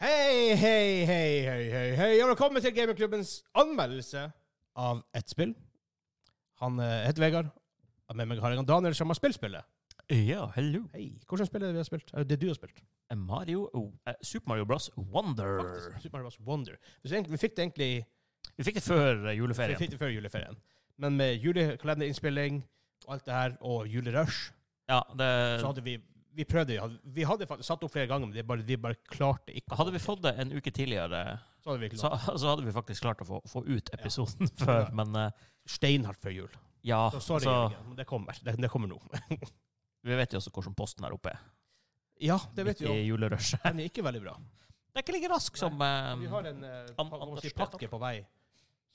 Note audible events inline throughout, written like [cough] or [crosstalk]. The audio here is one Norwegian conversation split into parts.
Hei, hei, hei, hei, hei, hei, og velkommen til Gamingklubbens anmeldelse av et spill. Han eh, heter Vegard, og med meg har jeg han Daniel som har spilt spillet. Ja, hello. Hei, hvordan spill er det vi har spilt? Eh, Det du har spilt? Mario, oh, eh, Super Mario Bros. Wonder. Faktisk, Super Mario Bros. Wonder. Så egentlig, vi fikk det egentlig Vi fikk det før eh, vi juleferien. fikk det før juleferien, men med julekalenderinnspilling og alt det her, og julerush, Ja, det, så hadde vi, vi prøvde, vi hadde, vi hadde faktisk satt opp flere ganger, men det er bare, vi bare klarte ikke. hadde vi fått det en uke tidligere, Så hadde vi så, klart. så hadde vi faktisk klart å få, få ut episoden [laughs] før. Men eh, Steinhardt før jul. ja, Så så, sorry, Jørgen, men det kommer, det, det kommer nå. vi vet jo også hvordan posten her oppe er. Ja, det vet Midt vi jo. I julerushet. Den er ikke veldig bra. Det er ikke like rask som eh, Vi har en eh, An- hva skal man si, Anders pakke på vei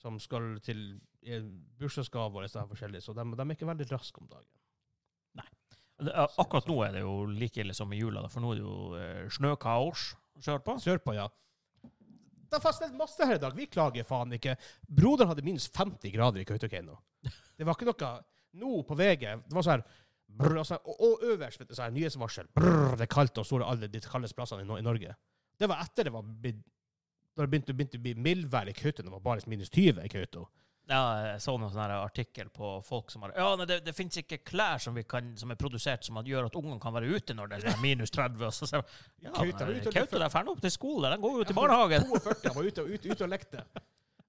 som skal til eh, bursdagsgave og sånn forskjellig, så de, de er ikke veldig raske om dagen. det er- Akkurat nå er det jo like ille som i jula, da, for nå er det jo eh, snøkaos å kjøre på. Sørpå, ja. Det er fastnett masse her i dag. Vi klager faen ikke. Broderen hadde minst 50 grader i Kautokeino. Det var ikke noe Nå på VG Det var sånn her brr, og, sånn, og, og øverst vet du, sånn her, nyhetsvarsel. Brr, det er kaldt og store alle de kaldeste plassene i, Nor- i Norge. Det var etter det var blitt- da det begynte, begynte å bli mildvær i Kautokeino. Det var bare minus 20 i Kautokeino. Ja, jeg så noen sånne her artikkel på folk som har Ja, nei, det, det finnes ikke klær som, vi kan, som er produsert som at- gjør at ungene kan være ute når det er minus 30. Og så ser jeg, ja, Kautokeino er nei, ute og Kautokeino de drar opp til skole, de går jo til Ja, barnehagen. 42 var ute, ute, ute og lekte.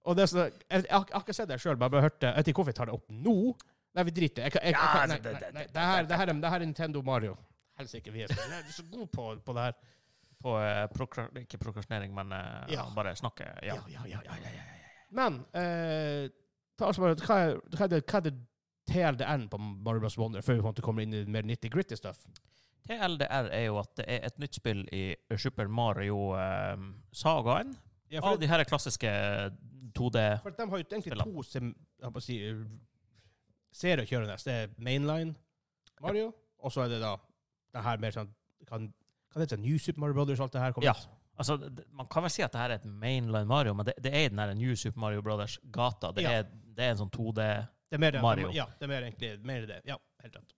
Og det er sånn, jeg, jeg, har- jeg har ikke sett det sjøl, men jeg bare hørte Jeg vet ikke hvorfor jeg tar det opp nå. Nei, vi driter. Jeg, kan- jeg, jeg, Ja, kan- nei, altså, nei, det- det- nei, det, her, det, her, er- det her er Nintendo Mario. Helsike, vi er så, jeg er så gode på, på det her. På eh, prokra, Ikke prokrastinering, men eh, Ja. bare snakke. Ja. ja, ja, ja, ja, ja, ja. Men eh, ta altså bare, hva, er, hva, er det, hva er det TLDN på Mario Bros. Wonder, før vi på en måte kommer inn i mer nitty gritty stuff? TLDR er jo at det er et nytt spill i Super Mario-sagaen. Ja, av for, de her klassiske 2D for de har jo egentlig Spillene. to sem, jeg holdt på å si, eh, serier å kjøre neste. Det er Mainline Mario, og så er det da det her mer sånn kan, kan det hete New Super Mario Brothers alt det her? kommer Ja. ut? Altså, det- Man kan vel si at det her er et mainline Mario, men det, det er i den her New Super Mario Brothers-gata. Det, Ja. er, det er en sånn 2D Det er mer, Mario. Ja, det er mer egentlig mer det. Ja, helt rett.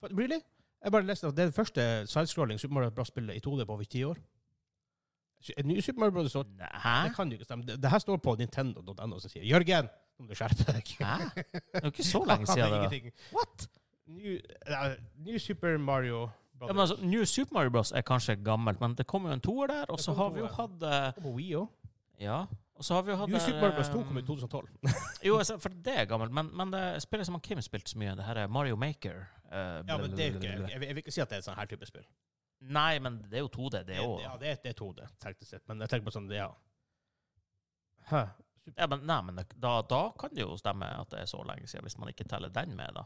For, really? Jeg bare leste at det er det første sidescrolling Super Mario Bros-spillet i 2D på over ti år. Så En ny Super Mario Bros. står Hæ? Det kan jo ikke stemme. Det, det her står på nintendo.no som sier Jørgen, nå må du skjerpe deg. Hæ? Det er jo ikke så lenge siden. det var. Ingenting. What? New, nei, New Super Mario Ja, men Brothers. altså, New Super Mario Bros. er kanskje gammelt, men det kom jo en toer der, og Det så kom har en vi jo toer. hatt eh, Og på Wii også. Ja. Og så har vi jo hatt New eh, Super Mario Bros. 2 kom i 2012. Jo, altså, for det er gammelt, men, men det spillet som han Kim spilte så mye, det her er Mario Maker. eh, Ja, men det er jo ikke, jeg, jeg vil ikke si at det er et sånn her type spill. Nei, men det er jo 2D, det òg. Ja, det er, det er 2D, teknisk sett. Men jeg tenker på sånn, ja. Hæ? Ja, men, nei, men det, da, da kan det jo stemme at det er så lenge siden, hvis man ikke teller den med, da.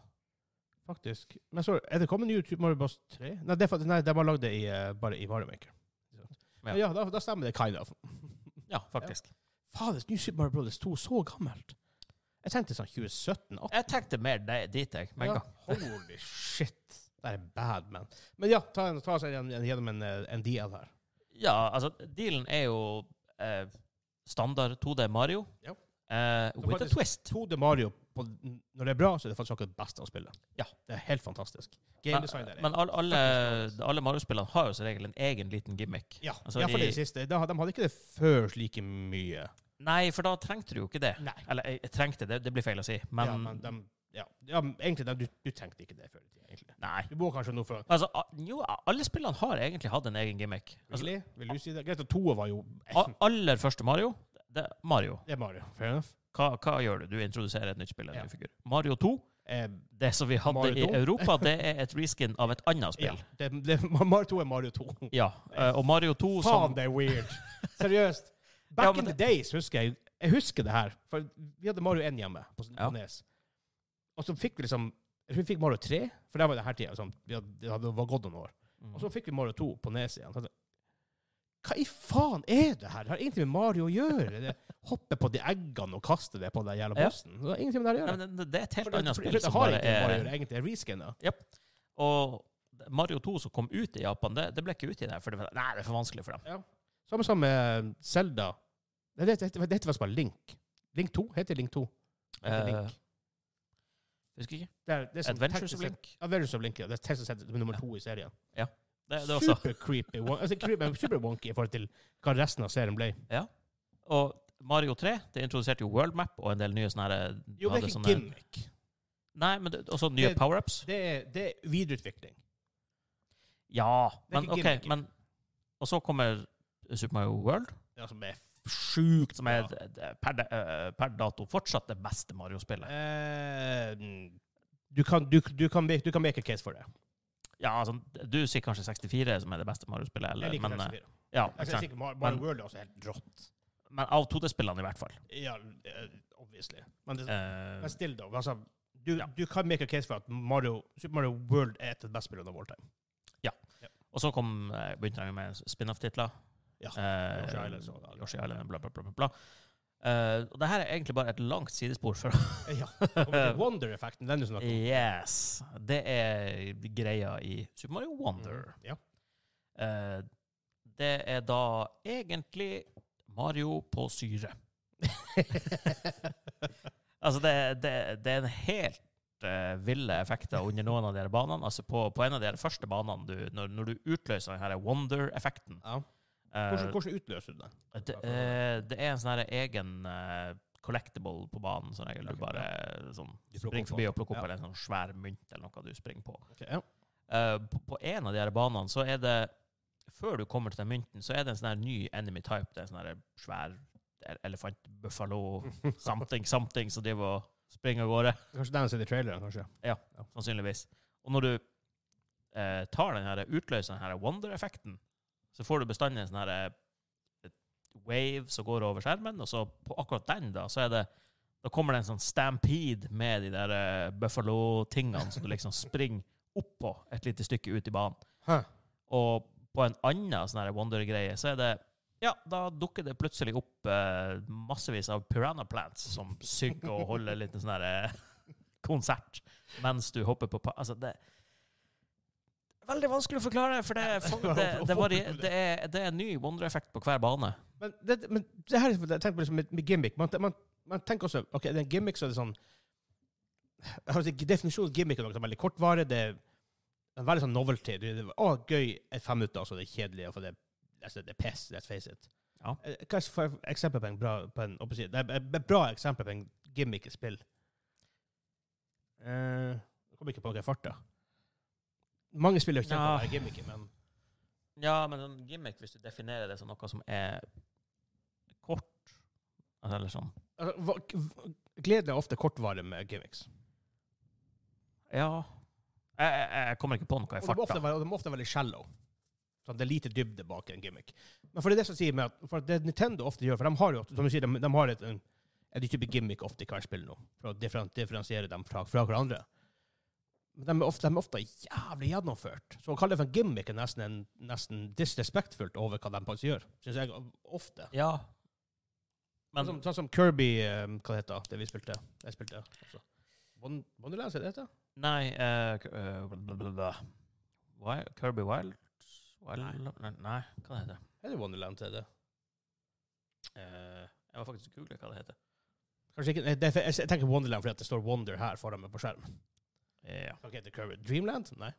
Faktisk. Men så er det kommet ny Super Mario Bros. 3? Nei, det er, faktisk- nei de har lagd det i, eh, bare i Mario Maker. Men ja, da, da stemmer det kind of. Ja, faktisk. Fader, New Super Mario Bros. 2 så gammelt. Jeg tenkte sånn 2017-18. Jeg tenkte mer de- dit, jeg. Med en [laughs] gang. Holy shit. Det er bad, man. Men ja, ta, en, ta oss igjen- igjen gjennom en, eh, en DL her. Ja, altså, dealen er jo eh, standard 2D Mario. Ja. Eh, Så with a faktisk- twist. 2D Mario, på, når det er bra, så er det faktisk noe av det beste å spille. Ja. Det er helt fantastisk. Men, Game design der. er- men all, alle, Faktisk alle Mario-spillene har jo som regel en egen liten gimmick. ja, altså, iallfall i- det siste. Da, de hadde ikke det før like mye. Nei, for da trengte du jo ikke det. Nei. Eller jeg, jeg trengte det, det blir feil å si. Men, ja, men de, ja. ja, men egentlig, de, du, du tenkte ikke det før i tida, egentlig. nei. Du må kanskje noe før. Altså, a- jo, alle spillene har egentlig hatt en egen gimmick. Altså, Ah. Really? Vil du si det? Greit, og toa var jo a- aller første Mario, det er Mario. Det er Mario. Fair enough. Hva, hva gjør du? Du introduserer et nytt spill, en Ja. ny figur. Mario 2, Eh, det som vi hadde Mario i 2? Europa, det er et reskin av et annet ja. spill. Det, det, [laughs] Mario 2 er Mario 2. Ja, eh, og Mario Faen, 2 som det er weird. [laughs] Seriøst. Back Ja, men in the days husker jeg Jeg husker det her. For vi hadde Mario 1 hjemme på på Ja. Nes. Og så fikk vi liksom Jeg tror vi fikk Mario 3, for det var det her tida. Liksom, vi hadde, det hadde- var gått noen år. Mm. Og så fikk vi Mario 2 på Nes igjen. Så jeg- Hva i faen er det her? Det har ingenting med Mario å gjøre. Det hoppe på de eggene og kaste det på den jævla Ja. bossen. Det har ingenting med det her å Nei, gjøre. men det, det er et For helt det- annet for spill. Det som har bare ingenting med Mario å er- gjøre, egentlig. Det er reskinna. Og Mario 2 som kom ut i Japan, det, det ble ikke ut i der, for det, var- nei, det er for vanskelig for dem. Samme som med Zelda. Nei, Det heter det heter faktisk bare Link. Link 2 heter Link 2. Det heter Eh, Link. husker ikke. Det er, det er sånn Adventures teknisk of sett- Link. Adventures of Link, ja. Det er teknisk sett nummer Ja. to i serien. Ja. Det, det er også. Super creepy. won- Altså, creepy, men super wonky i forhold til hva resten av serien ble. Og Mario 3 det introduserte jo World Map og en del nye sånne sånn her- eh, Jo, men det hadde er sånne- ikke gimmick. Nei, men det, også nye Det- power-ups. Det er, det er videreutvikling. Ja, Det er men ikke OK. gimmick. Men, og så kommer Super Mario World, Ja, som er altså sjukt som er bra. d- d- per, da- eh, per dato fortsatt det beste Mario-spillet. Eh, du, kan, du, du, kan, make- du kan make a case for det. Ja, altså, du sier kanskje 64 som er det beste Mario-spillet, eller Jeg liker men, eh, 64. ja, Jeg ikke er sant? sikker på Mar- Mario Men- World er også helt rått. men av 2D-spillene i hvert fall. Ja, eh, obviously. Men, det, Eh, men still, though. Altså, du, Ja. du kan make a case for at Mario, Super Mario World er et av de beste spillene av all [laughs] time. og så kom, eh, begynte jeg med spin-off-titler. Ja, Eh, Yoshi Island, så- Yoshi Island, bla, bla, bla. bla, bla. Eh, og det her er egentlig bare et langt sidespor fra Ja. Og med Wonder-effekten, den sånn du snakker om. Yes. Det er greia i Super Mario Wonder. Mm, Ja. Eh, det er da egentlig Mario [laughs] på syre. altså, det, det, det er en helt eh, ville effekter under noen av de her banene. Altså, på, på en av de her første banene, du, når, når du utløser den her wonder-effekten ja. eh, Hvordan, hvordan utløser du den? det, eh, det er en sånn her egen eh, collectible på banen, som regel. Ok, Du bare sånn, Du plukker springer opp forbi på. og plukker opp Ja. eller en sånn svær mynt eller noe du springer på. Ok, ja. Eh, på, på en av de her banene så er det Før du kommer til den mynten, så er det en sånn her ny enemy type. Det er en sånn her svær el- elefant, buffalo, something, something, som driver og springer av gårde. Kanskje den sitter i traileren, kanskje. Sannsynligvis. Og når du eh, tar den her, utløser den her wonder-effekten, så får du bestandig en sånn her eh, et wave som går over skjermen, og så på akkurat den, da, så er det da kommer det en sånn stampede med de der eh, buffalo-tingene som du liksom springer oppå et lite stykke ut i banen. Hæ. Og på en annen sånn her Wonder-greie, så er det Ja, da dukker det plutselig opp eh, massevis av piranha plants som synker og holder en liten sånn her eh, [laughs] konsert mens du hopper på pa Altså, det Veldig vanskelig å forklare, for det, for det, det, varier- det, er, det er en ny Wonder-effekt på hver bane. Men det, men det her er tenk på liksom med, med gimmick. Man, man, man tenker også ok, det er en gimmick, så er det sånn jeg har ikke Definisjonen av gimmick er noe som er veldig kortvarig. Det er en veldig sånn novelty. Det er å, gøy i fem minutter, og så er det kjedelig. og for det, altså, det er piss. Let's face it. Ja. Eh, Hva er for eksempel på en bra på en, oppå siden? Det er et bra eksempel på en gimmick i spill? Eh, jeg kommer ikke på noe i farta. Mange spiller jo ikke Ja. på det gimmicket, men Ja, men en gimmick, hvis du definerer det som noe som er kort altså, Eller sånn altså, hva- glede er ofte kortvarig med gimmicks. Ja. Jeg, jeg, jeg kommer ikke på noe i Og de, må ofte farta. være, og de må ofte være veldig shallow. Sånn, det er lite dybde bak en gimmick. Men for det er det som sier meg at, for det Nintendo ofte gjør, for de har jo, som du sier, de, de har et, en, en type gimmick ofte i hvert spill nå, for å differen, differensiere dem fra, fra hverandre. Men de er, ofte, de er ofte jævlig gjennomført. Så å kalle det for en gimmick er nesten, en, nesten disrespektfullt over hva de faktisk gjør, syns jeg ofte. Ja. Men sånn, som- sånn som Kirby, eh, hva det heter det, vi spilte. Jeg spilte også. Won- Wonderland, er det det heter? Nei eh, k- eh, bla, bla, bla. Wi- Kirby Wild? Wild nei. nei, hva det heter det? Er det Wonderland til det? Eh, jeg må faktisk google hva det heter. Kanskje ikke, det, er- jeg tenker Wonderland fordi at det står Wonder her foran meg på skjermen. Ja. Ok, The Curve. Dreamland? Nei.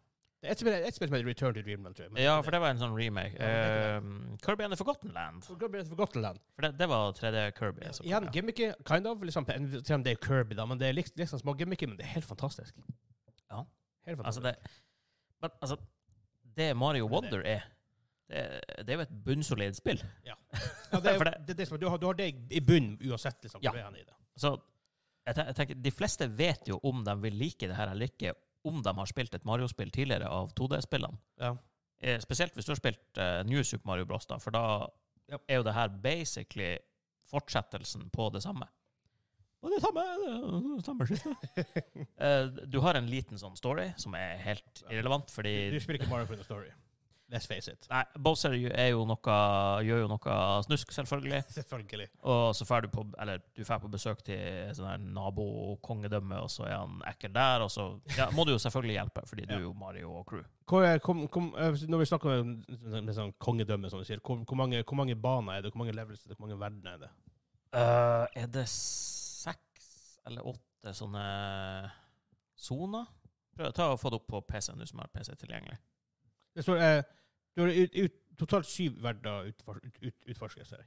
Det er et spill, et spill som heter Return to Dreamland, tror jeg. ja, for det var en sånn remake. Ja, det Eh, Kirby and the Forgotten Land. For Kirby er et Forgotten Land. For det, det var 3D Kirby. som kom, Igjen, gimmicky, kind of. Liksom, selv om det er Kirby, da, men det er liksom, liksom små gimmicky, men det er helt fantastisk. Ja. Helt Altså, fantastisk. det, men altså, det Mario Det er det. Wonder er, det, det er jo et bunnsolid spill. ja, det, er, for det, det- er det som, du, har, du har det i bunnen uansett liksom, Ja. hvor du er i det. Så jeg, ten- jeg tenker, de fleste vet jo om de vil like det her eller ikke, om de har spilt et Mario-spill tidligere av 2D-spillene. Ja. Eh, Spesielt hvis du har spilt eh, New Super Mario Bros, da, for da Ja. er jo det her basically fortsettelsen på det samme. Og det samme, det samme skittet. [laughs] Eh, du har en liten sånn story som er helt irrelevant, fordi Du spiller ikke Mario for the Story. Let's face it. Nei, Bowser er jo noe, gjør jo noe snusk, [laughs] selvfølgelig. Selvfølgelig. Og så drar du på, eller du drar på besøk til et sånt her nabokongedømme, og så er han ekkel der, og så ja, må du jo selvfølgelig hjelpe, fordi du er jo Mario og crew. Hvor er, kom, kom, eh, når vi snakker om med sånn kongedømme, som du sier, hvor, hvor, mange, hvor mange baner er det? Hvor mange levels er det? Hvor mange verdener er det? Eh, er det seks eller åtte sånne soner? Prøv å ta og få det opp på PC-en, du som har PC tilgjengelig. Det står eh, Du har ut, ut, totalt syv verdener utfor, ut, ut, utforsket, ser jeg.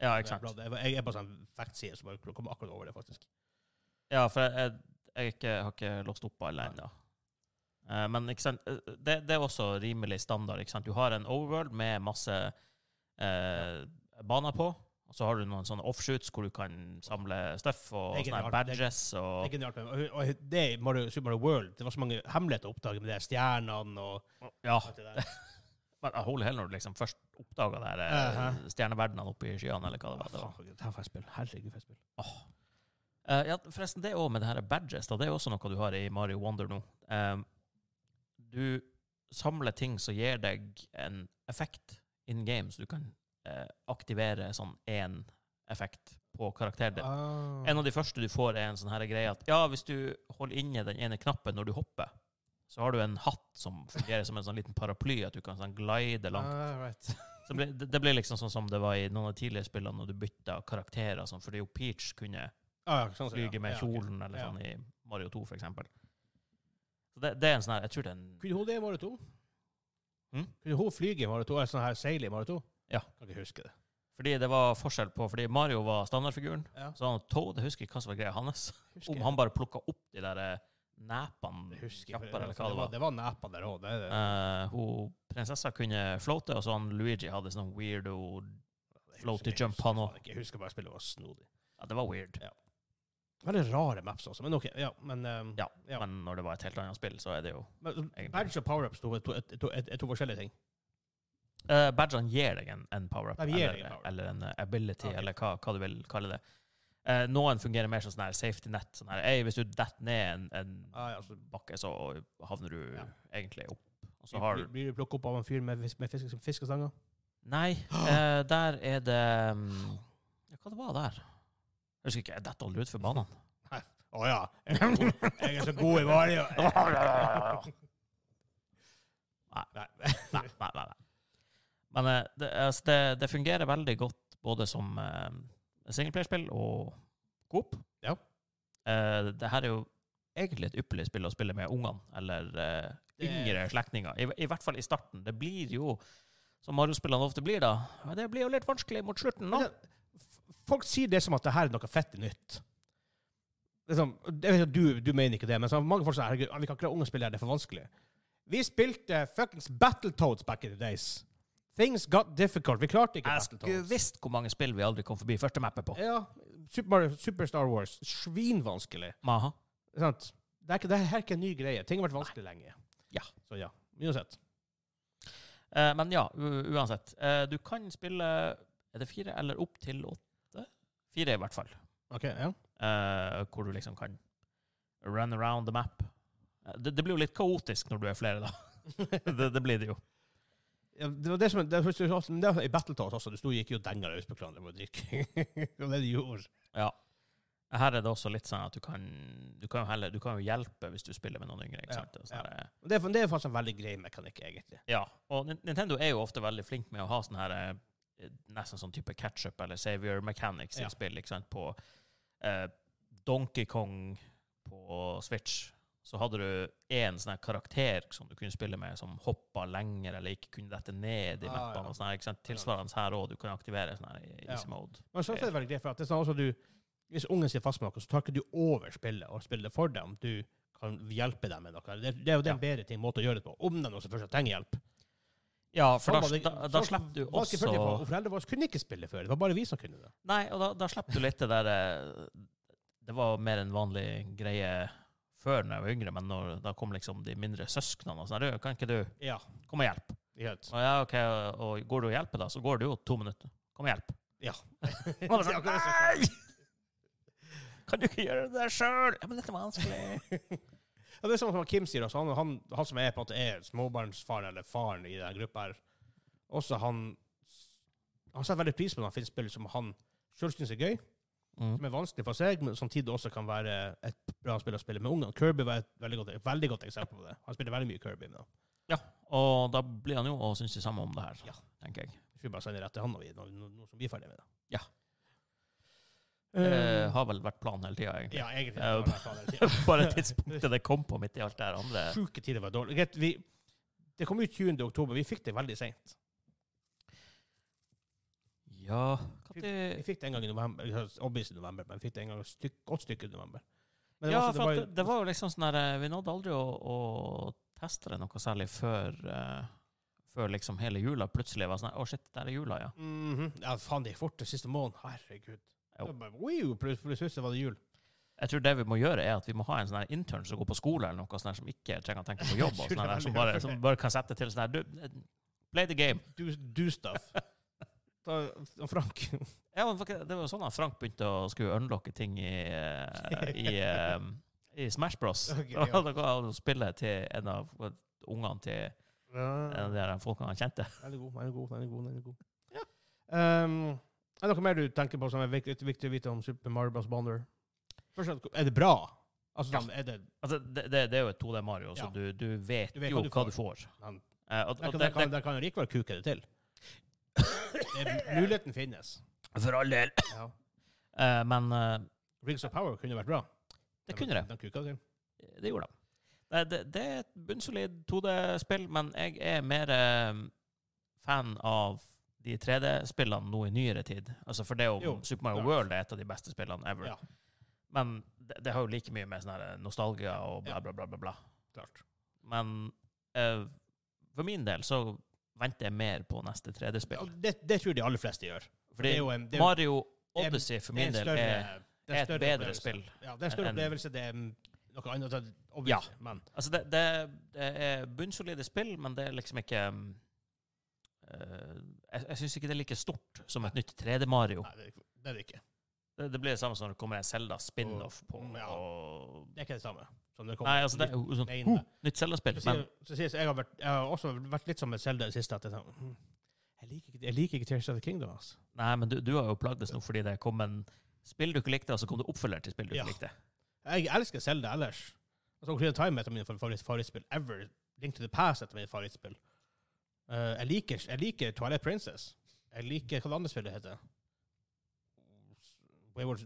Ja, Det er ikke sant. bladet. Jeg, jeg er på sånn factside som bare kommer akkurat over det, faktisk. Ja, for jeg, jeg, jeg er ikke, har ikke låst opp alle ennå. Eh, Men ikke sant? eh, Det, det er også rimelig standard. Ikke sant? Du har en overworld med masse eh, baner på. Og så har du noen sånne offshoots hvor du kan samle stuff og Det er sånne genialt. Det er- badges. Det er Og, genialt. men- Og, og det i Mario, Super Mario World, det var så mange hemmeligheter å oppdage med de stjernene og ja, alt det der. men eh, holy hell når du liksom først oppdaga de her, eh, Ehe. stjerneverdenene oppe i skyene, eller hva det var. Det var. Faen, det her får jeg spille. Herregud, får jeg spille. Eh, ja, forresten, det òg med det her badges, da, det er jo også noe du har i Mario Wonder nå. Eh, du samler ting som gir deg en effekt in game, så du kan eh, aktivere sånn én effekt på karakteren Ah. din. En av de første du får, er en sånn her greie at ja, hvis du holder inne den ene knappen når du hopper, så har du en hatt som fungerer som en sånn liten paraply, at du kan sånn glide langt. Ah, right. Så ble, det, det ble liksom sånn som det var i noen av de tidligere spillene, når du bytta karakterer, og sånn, fordi jo Peach kunne Ah, ja, sånn, ser jeg. flyge med Ja, ok. kjolen eller Ja. sånn i Mario 2, for eksempel. Så det, det er en sånn her Jeg tror det er en Kunne hun det i Mario 2? Mm? Kunne hun flyge i Mario 2? Eller sånn her seile i Mario 2? Ja. Kan ikke huske det. Fordi det var forskjell på Fordi Mario var standardfiguren, Ja. så han Toad Jeg husker ikke hva som var greia hans. Husker Om jeg. han bare plukka opp de der eh, nepene Jeg husker ikke, kjappere, eller for hva det var. Det var nepa der òg. Det, det, Eh, hun, prinsessa kunne floate, og så han Luigi hadde sånn weirdo det husker floaty jeg jump, han faen også. ikke. Jeg husker bare spillet var snodig. Ja, det var weird. Veldig rare maps også, men OK. Ja, men, um, Ja, Ja. Men når det var et helt annet spill, så er det jo men egentlig. Badge og power-ups to- to- er to- er to forskjellige ting. Eh, badgene gir deg en, en power-up, De gir eller, deg en power-up. eller en eh, ability, Ok. eller hva, hva du vil kalle det. Eh, noen fungerer mer som sånn her safety net. Sånn her, «Ei, hvis du detter ned en, en Ah, ja, så bakke, så havner du Ja. egentlig opp. Og så har blir, du blir du plukket opp av en fyr med, fis- med fiske, fiskestanger? [gasps] Nei, eh, der er det mm, ja, Hva det var der? Jeg husker ikke. Jeg detter aldri utfor [laughs] banen. [laughs] Å ja. [laughs] Jeg er så god i [laughs] Mario. nei, Nei. [laughs] nei, nei, nei. Men eh, det, altså, det, det fungerer veldig godt både som uh, singleplayerspill og coop. Ja. Eh, det her er jo egentlig et ypperlig spill å spille med ungene, eller eh, Det- yngre slektninger. I, I hvert fall i starten. Det blir jo, som Mario-spillene ofte blir da, ja, det blir jo litt vanskelig mot slutten nå. Men det- f- Folk sier det som at det her er noe fett nytt. Det er sånn, jeg vet at du, du mener ikke det, men så mange folk sier herregud, vi kan ikke la unge spille det her, det er for vanskelig. Vi spilte fuckings Battletoads back in the days. Things got difficult. Vi klarte ikke Jeg skulle Battletoads. visst hvor mange spill vi aldri kom forbi første mappet på. Ja, Super Mario, Super Star Wars. Svinvanskelig. Maha. Sant? Det, er ikke, det her er ikke en ny greie. Ting har vært vanskelig lenge. Ja. Så ja, uansett. Eh, men ja, u uansett. Eh, du kan spille Er det fire eller opp til åtte? Fire, i hvert fall. Ok, ja. Eh, hvor du liksom kan run around the map. Eh, Det, det blir jo litt kaotisk når du er flere, da. [laughs] det, det blir det jo. Ja, det var det som det, første- men det var I Battletoads også, du sto og gikk jo og denga løs på hverandre med å drikke. [laughs] det var det du gjorde. Ja. Her er det også litt sånn at du kan Du kan jo, heller, du kan jo hjelpe hvis du spiller med noen yngre. Ja, ikke sant? Og sånn ja. her, Men Det er, det er faktisk en veldig grei mekanikk, egentlig. ja. Og Nin- Nintendo er jo ofte veldig flink med å ha sånn her eh, nesten sånn type catch-up eller savior mechanics Ja. i spill, ikke sant, på eh, Donkey Kong på Switch. Så hadde du én sånn her karakter som du kunne spille med, som hoppa lenger eller ikke kunne dette ned i Ah, mappene. ja. og sånn her, ikke sant? Tilsvarende her òg. Du kan aktivere sånn her i Ja. easy mode. Men så er det veldig greit, for at det er sånn også du, hvis ungen sier fast med noe, så tar ikke du over spillet og spiller det for dem. Du kan hjelpe dem med noe. Det, det er jo den Ja. bedre ting, måte å gjøre det på, om de også først trenger hjelp. Ja, for Sånn da, var det- da, da sånn slipper du var det ikke før til, også for- Og foreldrene våre kunne ikke spille før. Det var bare vi som kunne det. Nei, og da, da slipper du litt det der eh, Det var mer en vanlig greie før når jeg var yngre, men når, da kom liksom de mindre søsknene og sånn. «Du, Kan ikke du Ja, Kom og hjelp. [laughs] helt. Og ja, ok, og, og går du og hjelper, da, så går det jo to minutter. Kom og hjelp. [laughs] Ja. Og da er det sånn, Nei! Kan du ikke gjøre det sjøl? Ja, men dette er [laughs] vanskelig. Ja, det er sånn som Kim sier også. Han, han, han som er på en måte er småbarnsfaren eller faren i den gruppa her. Også han Han setter veldig pris på når han finner spill som han sjøl syns er gøy, Mm. som er vanskelig for seg, men samtidig også kan være et bra spill å spille med ungene. Kirby var et veldig godt, et veldig godt eksempel på det. Han spiller veldig mye Kirby nå. Og da blir han jo og syns det samme om det her, Ja. tenker jeg. Skal vi bare sende rett til han når vi- når- når- nå som vi er ferdig med det. Ja. Eh, Det eh, har vel vært planen hele tida, egentlig. [laughs] ja, egentlig. Eh, det var det jeg sa hele tiden. Bare tidspunktet det kom på midt i alt det her andre. Sjuke tider var dårlig. Greit, vi Det kom ut 20. oktober. Vi fikk det veldig seint. Ja Vi fikk det en gang i november, eller obviously i november, men vi fikk det en gang et stykke, godt stykke i november. Men altså, Ja, også- for at jo- det, det var jo liksom sånn der eh, Vi nådde aldri å, å teste det noe særlig før eh, Før liksom hele jula plutselig var sånn Å, shit, der er jula, ja. Mhm. Ja, faen, det gikk fort den siste måneden. Herregud. Jo. Det var bare, wow, Plutselig plutselig var det jul. Jeg tror det vi må gjøre, er at vi må ha en sånn her intern som går på skole, eller noe sånn her som ikke trenger å tenke på jobb, og [laughs] Jeg tror det sånn er her, som, veldig bare, bra. som bare kan sette til sånn her Du, eh, play the game. Do, do [laughs] stuff. Da, og Frank Ja, men faktisk, det var jo sånn at Frank begynte å skulle unlocke ting i, eh, i, eh, i Smash Bros. [laughs] Ok, [laughs] ja. Da ga han spillet til en av ungene til en av de her folkene han kjente. Den er god, den er god, den er god. Den er god. Ehm, er det noe mer du tenker på som er viktig, viktig å vite om Super Mario Bros. Bonder? Først, og fremst, er det bra? Altså, Ja. sånn, er det, Altså, det, det, det er jo et 2D Mario, så Ja. du, du, vet Du vet jo hva du hva får. du får. Men- Eh, og, der, kan, og det, der, kan, der kan jo likevel kuke det til. Det, [laughs] er- muligheten finnes. det, [coughs] for all del. Ja. Eh, men eh, Rings of Power kunne vært bra. det kunne det. De kuka det til. Det gjorde de. Nei, Det, det er et bunnsolid 2D-spill, men jeg er mer eh, fan av de 3D-spillene nå i nyere tid. Altså, for det er jo, Jo, Super Mario klart. World er et av de beste spillene ever. Ja. Men det, det har jo like mye med sånn her nostalgia og Ja. bla, bla, bla, bla. bla. Klart. Men eh, for min del så venter jeg mer på neste Ja, 3D-spill. Det, det tror de aller fleste gjør. Fordi det er jo en, det er, Mario det er- Odyssey det for er min en del større, er, det en er et større bedre opplevelse. spill. Ja, det er en større enn- opplevelse. Det er mm, noe annet enn obviously, men Altså, det, det, det er bunnsolide spill, men det er liksom ikke um, eh, Jeg, jeg syns ikke det er like stort som et nytt 3D-Mario. nei, det, er- det er det ikke. Det, det blir det samme som når det kommer en Zelda spin-off på Mm, ja. og, Det er ikke det samme. Som det kommer. Nei, altså, det er jo sånn Nei, «Huh, nei. Nytt Zelda-spill. Så Men sier- så sier jeg, jeg, har vært, jeg har også vært litt som med Zelda i det siste. At jeg, tenker, mm, jeg, liker ikke, jeg liker ikke Tears of the Kingdom. Altså. Nei, men du, du har jo plagdes nå fordi det kom en spill du ikke likte, og så kom det oppfølger til spill du Ja. ikke likte. Jeg elsker Zelda ellers. Altså, Ocarina of Time er et av mine favoritt- favorittspill ever. Link to the Past er et av mine favorittspill. Eh, jeg, liker, jeg liker Twilight Princess. Jeg liker hva det andre spillet heter. Wayward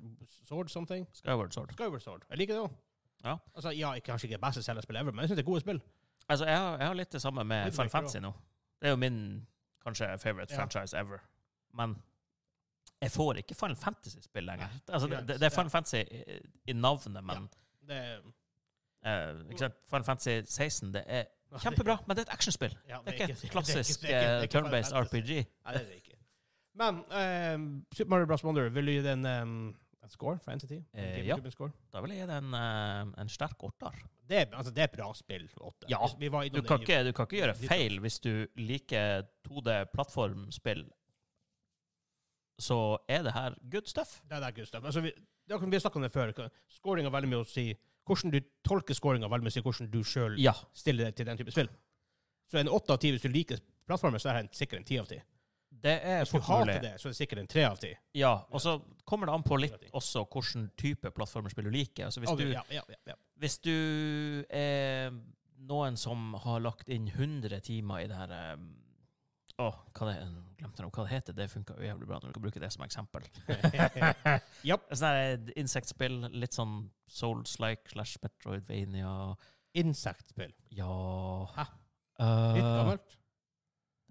Sword something? Skyward Sword. Skyward Sword. Jeg liker det òg. Ja. Altså, ja, jeg- kanskje ikke det beste Zelda-spillet ever, men jeg syns det er gode spill. Altså, jeg har, jeg har litt det samme med Litt Final likere Fantasy nå. Det er jo min kanskje favorite Ja. franchise ever. Men jeg får ikke Final Fantasy-spill lenger. Nei, Altså, det, greit. det det er Ja. Final Fantasy i- i navnet, men Det er, [laughs] eh, ikke sant? Final Fantasy 16 det er Nei, det- kjempebra, men det er et actionspill. ja, Det er ikke det et er klassisk [laughs] det er ikke- eh, det er ikke turn-based Final Fantasy. RPG. Nei, det er det ikke. Men eh, Super Mario Bros. Wonder, vil du gi den um, en score for Entity? En Eh, GameCube Score? Da vil jeg gi det en, eh, en sterk åtter. Det, er, altså, det er et bra spill. Åtte. Ja, Vi var Du innom kan, det i- ikke, du kan ikke gjøre feil hvis du liker 2D-plattformspill. Så er det her good stuff. Det er det, Gustav. Altså, vi, det er akkurat- vi har snakket om det før. Scoring har veldig mye å si. Hvordan du tolker scoring har veldig mye å si hvordan du sjøl Ja. stiller deg til den type spill. Så en åtte av ti hvis du liker plattformer, så er det en- sikkert en ti av ti. Det er Hvis du fort hater mulig. det, så er det sikkert en tre av ti. Ja, og så kommer det an på litt også hvilken type plattformspill du liker. Altså hvis, Ja, du, ja, ja, ja, ja. hvis du er noen som har lagt inn 100 timer i det her eh, Å, hva det, glemte nå hva det heter. Det funka jo jævlig bra når du kan bruke det som eksempel. [laughs] Japp. Sånn her insektspill, litt sånn Souls-like slash Metroidvania. Insektspill. Ja Hæ? Eh, Litt gammelt.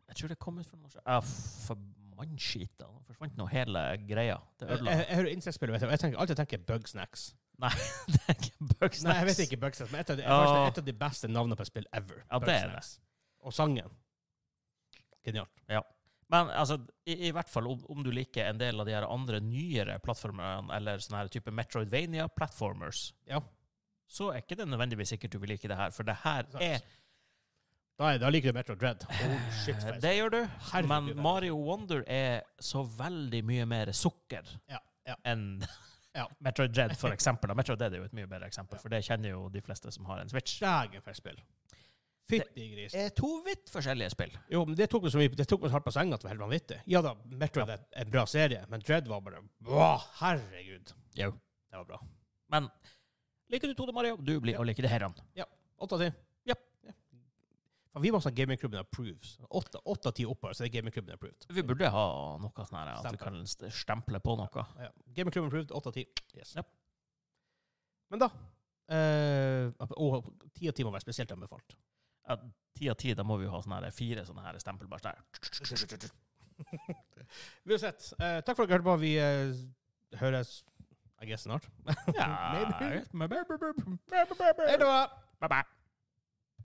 Jeg tror det kom ut for noen år siden. Ja, Forbannskita. Nå forsvant nå hele greia. Det Jeg, ødela. jeg, jeg hører insektspill, og jeg tenker alltid tenker jeg Bugsnacks. [laughs] Det er ikke Bugsnax. Nei, jeg vet ikke Bugsnax, men et av, de, Åh. faktisk et av de beste navnene på et spill ever. Ja, det er Bugsnax. Og sangen. Genialt. Men altså, i, i hvert fall om, om du liker en del av de her andre nyere plattformene, eller sånne her type Metroidvania-platformers, Ja. så er ikke det nødvendigvis sikkert du vil like det her, for det her Sant. er Da, er, da liker du Metro Dread. Holy shit, Eh, faktisk. Det gjør du. Herregud, altså. Men det er- Mario Wonder er så veldig mye mer sukker Ja, ja. enn Ja. [laughs] Metroid Dread, for eksempel. Og Metroid Dread er jo et mye bedre eksempel, Ja. for det kjenner jo de fleste som har en Switch. Dægen for et spill. Fytti gris. er to vidt forskjellige spill. Jo, men det tok meg så mye, det tok meg så hardt på senga at det var helt vanvittig. Ja da, Metro Dread er en bra serie, men Dread var bare Wow, herregud. Jo. Det var bra. Men liker du 2D Mario, du blir å like det her. Åtte av ti. Ja. Ja. Faen, Vi må ha sånn gamingklubben approves. Åtte åtte av ti oppover, så det er gamingklubben approved. Vi burde ha noe sånn her, at vi Stemmer. kan st- stemple på noe. Ja. Gamingklubben approved, åtte av ti. Yes. Ja. Men da eh, Og ti av ti må være spesielt anbefalt. Ja, ti av ti, da må vi jo ha sånne her, fire sånne her stempelbæsj der. [laughs] Uansett, eh, takk for at dere hørte på. Vi eh, høres I guess snart. Ja, Maybe. maybe. Hei da! Bye bye.